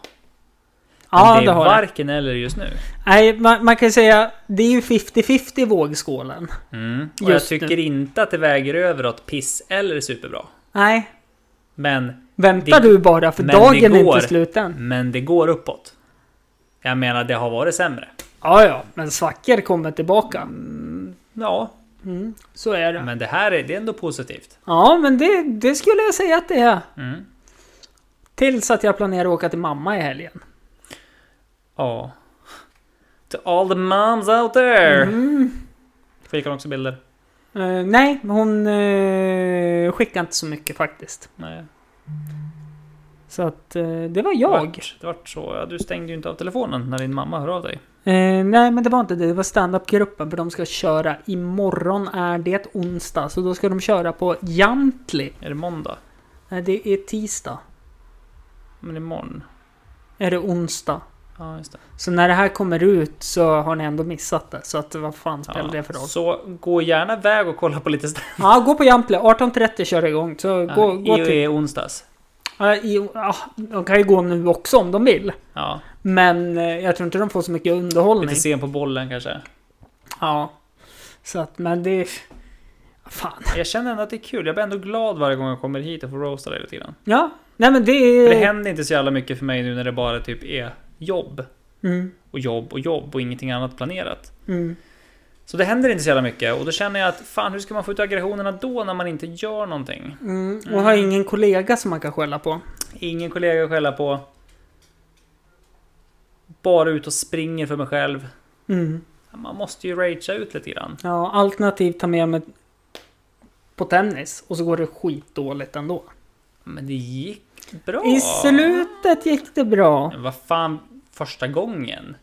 Ja, Men det, det är har det. varken eller just nu. Nej, man, man kan ju säga det är ju 50-50 i vågskålen. Mm. Och jag Just nu. tycker inte att det väger över åt piss eller superbra. Nej, Men, väntar Det- du bara för men det dagen är går. inte slut än. men det går uppåt. Jag menar, det har varit sämre. Mm. Ja, ja, men svackor kommer tillbaka. Ja, Mm, så är det. Men det här är, det är ändå positivt. Ja, men det, det skulle jag säga att det är. Mm. Tills att jag planerar att åka till mamma i helgen. Ja. To all the moms out there! Mm. Skickar hon också bilder? Eh, nej, hon eh, skickade inte så mycket faktiskt. Nej. Så att eh, det var Det jag. vart- Det vart så. Ja, du stängde ju inte av telefonen när din mamma hör av dig. Eh, nej, men det var inte det. Det var standup-gruppen för de ska köra. Imorgon är det onsdag, så då ska de köra på Jamtli. Är det måndag? Nej, det är tisdag. Men imorgon? Är det onsdag. Ja, just det. Så när det här kommer ut så har ni ändå missat det. Så att vad fan spelar Ja. det för roll? Så gå gärna iväg och kolla på lite stand- Ja, gå på Jamtli. 18.30 kör det igång. Så gå, gå I, till... I onsdags. Ja, i, ja, de kan ju gå nu också om de vill. Ja, Men eh, jag tror inte de får så mycket lite underhållning. sen på bollen kanske. Ja. Så att, men det... Fan. Jag känner ändå att det är kul. Jag blir ändå glad varje gång jag kommer hit och får roasta dig lite grann. Ja. Nej men det För är... det händer inte så jävla mycket för mig nu när det bara typ är jobb mm, och jobb och jobb och ingenting annat planerat. mm. Så det händer inte så jävla mycket och då känner jag att fan hur ska man få ut aggressionerna då när man inte gör någonting? Mm. Och har ingen kollega som man kan skälla på. Ingen kollega att skälla på. Bara ut och springer för mig själv. Mm. Man måste ju ragea ut lite grann. Ja, alternativt ta med mig på tennis och så går det skitdåligt ändå. Men det gick bra. I slutet gick det bra. Men vad fan, första gången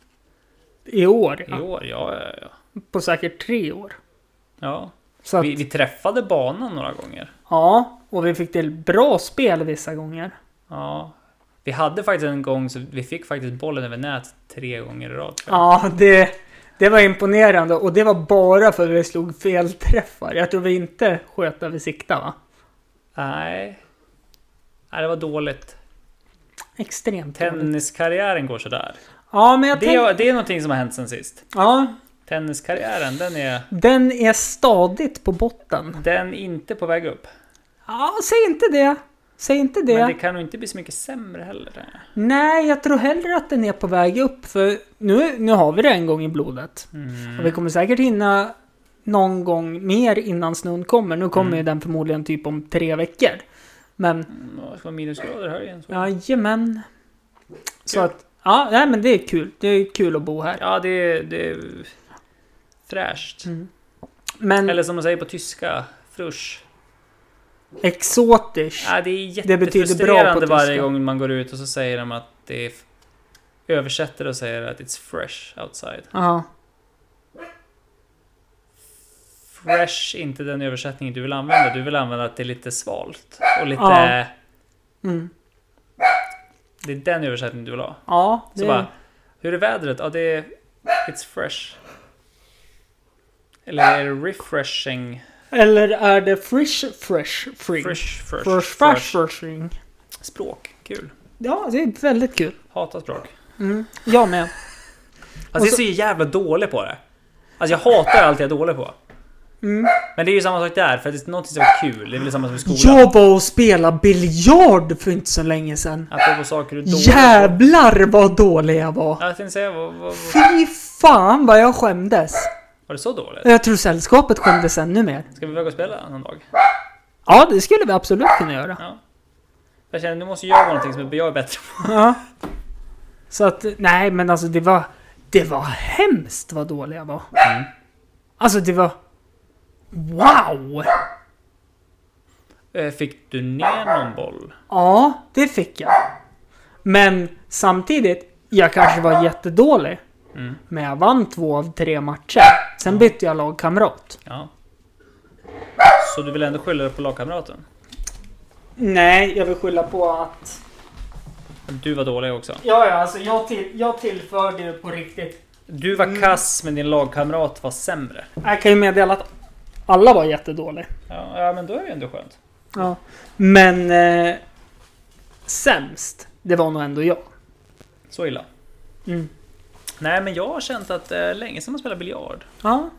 I år. i år? Ja, ja, ja. På säkert tre år. ja. Så att, Vi, vi träffade banan några gånger. ja, och vi fick till bra spel vissa gånger. Ja. Vi hade faktiskt en gång så vi fick faktiskt bollen över nät tre gånger i rad. tror jag. Ja, det, det var imponerande och det var bara för att vi slog fel träffar. Jag tror vi inte sköt över sikta va? Nej. Nej, det var dåligt. Extremt dåligt. Tenniskarriären går sådär. Ja, men jag Det, tänk, är- det är någonting som har hänt sen sist. Ja, Tenniskarriären, den är, den är stadigt på botten. den är inte på väg upp. Ja, säg inte det. Säg inte det. Men det kan nog inte bli så mycket sämre heller. tror jag. Nej, jag tror hellre att den är på väg upp för nu, nu har vi det en gång i blodet. Och Mm. vi kommer säkert hinna någon gång mer innan snön kommer. Nu kommer ju den förmodligen typ om tre veckor. Men Mm, Det ska vara minusgrader här igen. Så. Jajamän. Så att, ja, nej, men det är kul. Det är kul att bo här. Ja, det, är- det är fräscht. Mm. Men Eller som de säger på tyska, frusch. exotisk. Ja, det är Det betyder bra på jättefrustrerande varje tyska. gång man går ut och så säger de att det är... Översätter och säger att it's fresh outside. Ja. Fresh är inte den översättning du vill använda. Du vill använda att det är lite svalt. Och lite... Ja. Mm. Det är den översättningen du vill ha. Ja, Så det, bara, hur är vädret? Ja, det är... It's fresh. Eller är det refreshing? Eller är det fresh, fresh, fring? Fresh, fresh, fresh, fresh, freshing. Språk. Kul. Ja, det är väldigt kul. Hatar språk. Mm. Jag med. Alltså jag är så jävla dålig på det. Alltså jag hatar allt jag är dålig på. Mm. Men det är ju samma sak där, för att det är någonting som är kul. Det är väl samma som i skolan. Jag var och spelade biljard för inte så länge sedan. Apropå saker du är dålig på. Jävlar vad dålig jag var. Ja, Jag tänkte säga, vad, vad, vad, Fy fan vad jag skämdes. var det så dåligt? Jag tror sällskapet skämdes ännu mer. Ska vi iväg och spela någon dag? Ja, det skulle vi absolut kunna göra. Ja. Jag känner, nu måste jag göra någonting som jag är bättre på. Ja. Så att, nej men alltså det var... Det var hemskt vad dålig jag var. Mm. Alltså det var... Wow! Eh, Fick du ner någon boll? Ja, det fick jag. Men samtidigt, jag kanske var jättedålig. Mm. Men jag vann två av tre matcher. Sen bytte jag lagkamrat. Ja. Så du vill ändå skylla det på lagkamraten? Nej, jag vill skylla på att... Att Du var dålig också. Ja, ja, alltså jag, till, jag tillförde ju på riktigt. Du var kass, men din lagkamrat var sämre. Jag kan ju meddela att alla var jättedåliga. Ja, ja men då är det ju ändå skönt. Ja. Men eh, sämst, det var nog ändå jag. Så illa. Mm. Nej, men jag har känt att eh, länge sedan man spelar biljard. Ja.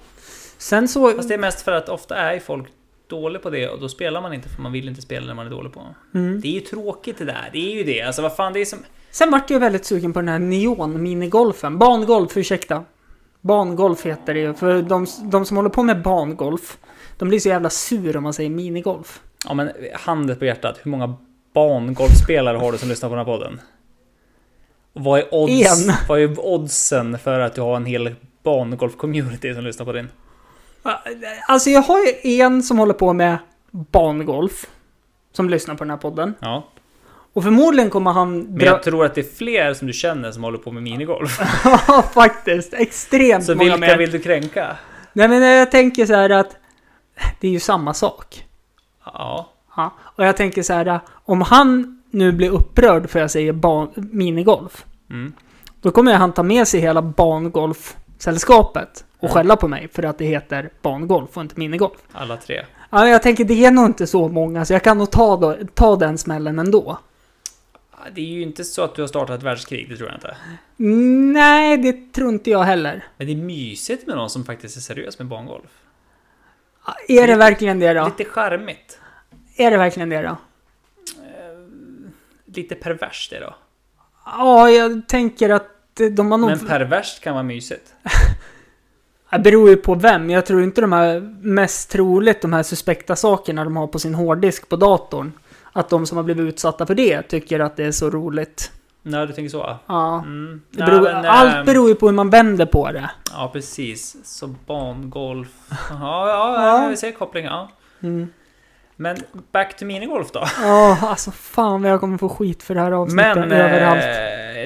Sen så... Fast det är mest för att ofta är ju folk dåliga på det och då spelar man inte för man vill inte spela när man är dålig på. Mm. Det är ju tråkigt det där. Det är ju det. Alltså vad fan, det är som... Sen vart jag väldigt sugen på den här neon minigolfen. Bangolf, ursäkta. Bangolf heter det ju. För de, de som håller på med bangolf, de blir så jävla sur om man säger minigolf. Ja men handen på hjärtat, hur många bangolfspelare har du som lyssnar på den här podden? Och Vad är, odds, En. vad är oddsen för att du har en hel bangolf-community som lyssnar på din? Alltså jag har ju en som håller på med bangolf. Som lyssnar på den här podden. Ja. Och förmodligen kommer han... Men jag tror att det är fler som du känner som håller på med minigolf. Ja, faktiskt. Extremt Så många vilka mer. vill du kränka? Nej men jag tänker så här att... Det är ju samma sak. Ja. Ja. Och jag tänker så här, om han nu blir upprörd för jag säger ban- minigolf. Mm. Då kommer han ta med sig hela bangolfsällskapet och skälla på mig för att det heter bangolf och inte minigolf. Alla tre. Ja, men jag tänker det är nog inte så många så jag kan nog ta, då, ta den smällen ändå. Ja, Det är ju inte så att du har startat ett världskrig, det tror jag inte. Nej, det tror inte jag heller. Men det är mysigt med någon som faktiskt är seriös med bangolf. Ja, Är det verkligen det då? Lite charmigt. Är det verkligen det då? Lite perverst det då. Ja, jag tänker att de har nog... Men perverst kan vara mysigt. Det beror ju på vem. Jag tror inte de här, mest troligt de här suspekta sakerna de har på sin hårddisk på datorn. Att de som har blivit utsatta för det tycker att det är så roligt. Nej, du tänker så? Ja. Mm. Det beror, Nej, men, eh, allt beror ju på hur man vänder på det. Ja, precis. Så bangolf. Ja, ja, ja, vi ser kopplingen. Ja. Mm. Men back to minigolf då. Ja, alltså fan vad jag kommer få skit för det här avsnittet Men överallt.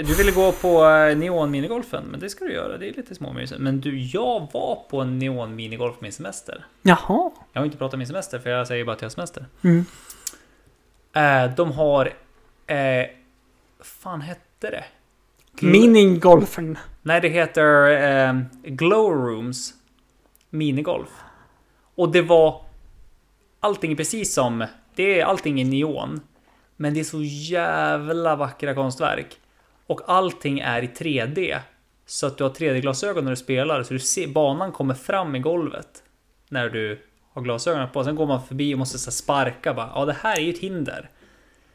eh, du ville gå på eh, neonminigolfen, men det ska du göra. Det är lite småmysigt. Men du, jag var på en neonminigolf på min semester. Jaha. Jag har inte pratat om min semester, för jag säger bara att jag har semester. Mm. Eh, de har... Eh, fan hette det? Gl- Minigolfen. Nej, det heter eh, Glow Rooms minigolf. Och det var... Allting är precis som... Det är allting i neon. Men det är så jävla vackra konstverk. Och allting är i 3D. Så att du har 3D-glasögon när du spelar. Så du ser, banan kommer fram i golvet. När du har glasögonen på. Sen går man förbi och måste så här sparka. Bara, ja, det här är ju ett hinder.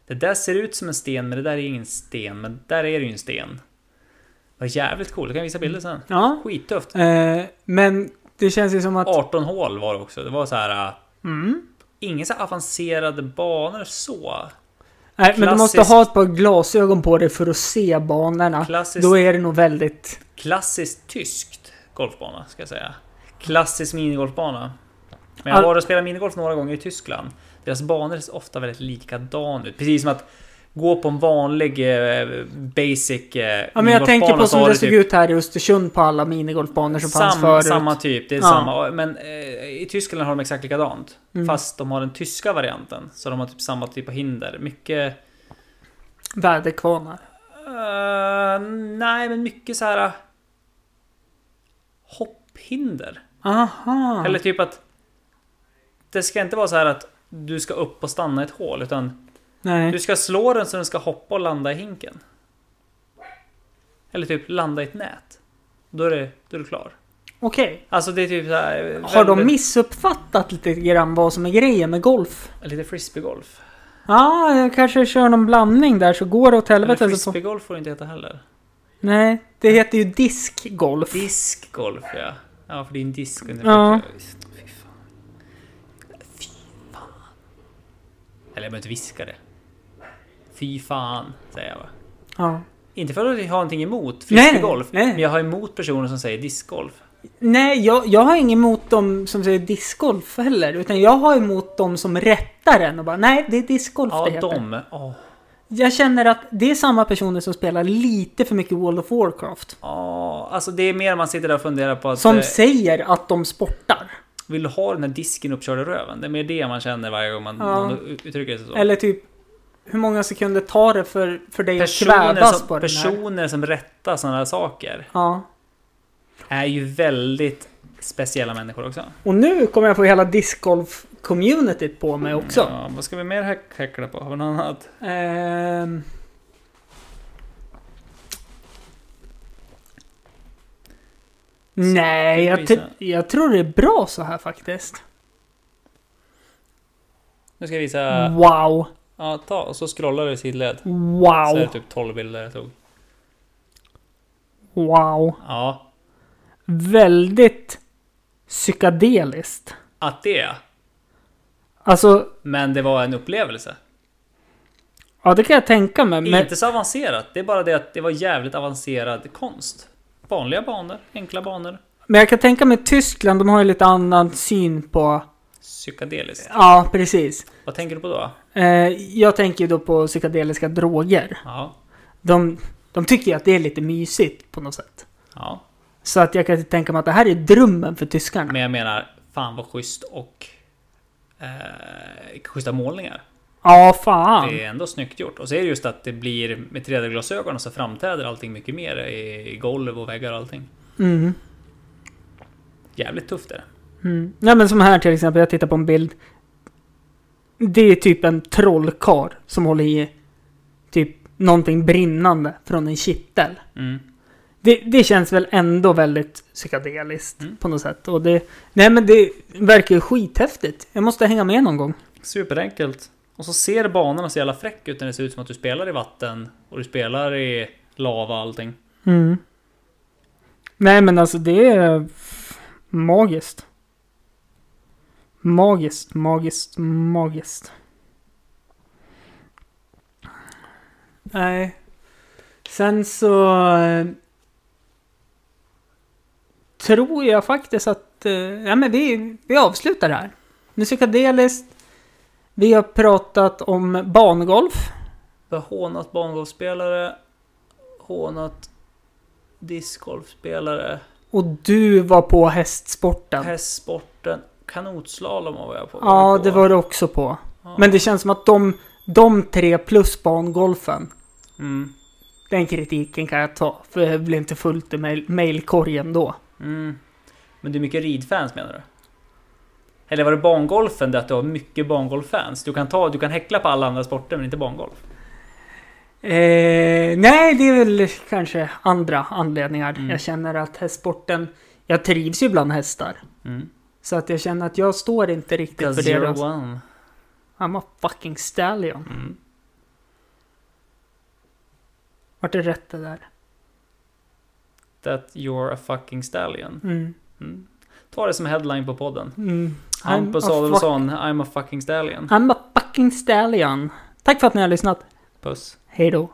Det där ser ut som en sten, men det där är ingen sten. Men där är det ju en sten. Vad jävligt coolt. Jag kan visa bilder sen. Ja. Skittufft. Eh, men det känns ju som att... 18 hål var det också. Det var så här... äh, Mm. Ingen så här avancerade banor så. Nej, men du måste Klassiskt. ha ett par glasögon på dig för att se banorna. Klassiskt. Då är det nog väldigt... Klassiskt tyskt golfbana ska jag säga. Klassisk minigolfbana. Men jag All- har varit och spelat minigolf några gånger i Tyskland. Deras banor ser ofta väldigt likadan ut. Precis som att gå på en vanlig eh, basic eh, Ja, men jag tänker på som det såg ut. ut här i Östersund på alla minigolfbanor som fanns typ Sam, förut. samma typ, det är Ja. samma. Men eh, i Tyskland har de exakt likadant. Mm. Fast de har den tyska varianten. Så de har typ samma typ av hinder. Mycket... Väderkvarnar. eh, nej, men mycket så här... eh, Hopphinder. Aha. Eller typ att... Det ska inte vara så här att du ska upp och stanna i ett hål. Utan du Nej. ska slå den så den ska hoppa och landa i hinken. Eller typ landa i ett nät. Då är, det, då är du klar. Okej. Alltså det är typ så här, Har de väldigt- missuppfattat lite grann vad som är grejen med golf? Lite frisbeegolf. Ja, jag kanske kör någon blandning där så går det åt Eller helvete. Så får... frisbeegolf får det inte heta heller. Nej, det heter ju diskgolf. Diskgolf ja. Ja, för det är en disk under Ja. Fy fan. Fy fan. Eller jag behöver inte viska det. Fy fan, säger jag bara. Ja. Inte för att jag har någonting emot Nej, frisbeegolf, nej. men jag har emot personer som säger diskgolf. Nej, jag, jag har inget emot dem som säger discgolf heller. Utan jag har emot dem som rättar en och bara nej, det är discgolf det Ja, heter. de. Åh, Jag känner att det är samma personer som spelar lite för mycket World of Warcraft. åh. Alltså det är mer man sitter där och funderar på att... Som eh, säger att de sportar. vill du ha den här disken uppkörd i röven? Det är mer det man känner varje gång man, Ja. någon uttrycker sig så. Eller typ, hur många sekunder tar det för, för dig att personer kvävas som, på den här? personer som rättar sådana här saker Ja. är ju väldigt speciella människor också. Och nu kommer jag få hela discgolf-communityt på mig också. Ja, vad ska vi mer häck- häckla på? Har vi något annat? Ehm, Nej, Ska jag, vi tr- visa? jag tror det är bra så här faktiskt. Nu ska jag visa. Mm. Wow, Ja, ta och så scrollar du i sidled. Så är typ wow, det typ 12 bilder jag tog. wow. Ja. väldigt psykedeliskt. Att det är. Alltså, Men det var en upplevelse. ja det kan jag tänka mig. Men, Inte så avancerat. Det är bara det att det var jävligt avancerad konst. Vanliga banor, enkla banor. men jag kan tänka mig Tyskland, de har ju lite annan syn på... Psykedeliskt. Ja, precis. Vad tänker du på då? Eh, jag tänker ju då på psykedeliska droger. Ja. De, de tycker ju att det är lite mysigt på något sätt. ja. Så att jag kan tänka mig att det här är drömmen för tyskarna. Men jag menar, fan vad schysst och... Eh, schyssta målningar. Ja, fan. Det är ändå snyggt gjort. Och så är det just att det blir med 3D-glasögonen så framträder allting mycket mer i i golv och väggar och allting. Mm. Jävligt tufft är det. Mm. Nej men som här till exempel, jag tittar på en bild. Det är typ en trollkar som håller i typ någonting brinnande från en kittel. Mm. Det, det känns väl ändå väldigt psykedeliskt Mm. på något sätt. Och det, nej men det verkar ju skithäftigt. Jag måste hänga med någon gång. Superenkelt. Och så ser banorna så jävla fräck ut när det ser ut som att du spelar i vatten och du spelar i lava och allting. Mm. Nej men alltså det är magiskt. Magiskt, magiskt, magiskt. Nej. Sen så... eh, Tror jag faktiskt att... eh, Ja men vi, vi avslutar det här. Musikadeliskt. Vi har pratat om bangolf. Jag har hånat bangolfspelare, hånat discgolfspelare, Och du var på hästsporten. hästsporten, kanotslalom var jag på. Ja, på. det var det också på. Ja. Men det känns som att de, de tre plus bangolfen, Mm. den kritiken kan jag ta. För jag blev inte fullt i mail- mailkorgen då. Mm. Men du är mycket ridfans menar du? Eller var det bangolfen det att du har mycket bangolffans? Du kan, ta, du kan häckla på alla andra sporter men inte bangolf? Eh, nej, det är väl kanske andra anledningar. Mm. Jag känner att hästsporten, jag trivs ju bland hästar. Mm. Så att jag känner att jag står inte riktigt för det. Zero då. one. I'm a fucking stallion. Mm. Vart är rätt det där? That you're a fucking stallion. Mm. Mm. Ta det som headline på podden. Mm. Hampus a fuck- Adolfsson, I'm a fucking stallion. I'm a fucking stallion. Tack för att ni har lyssnat. Puss. Hej då.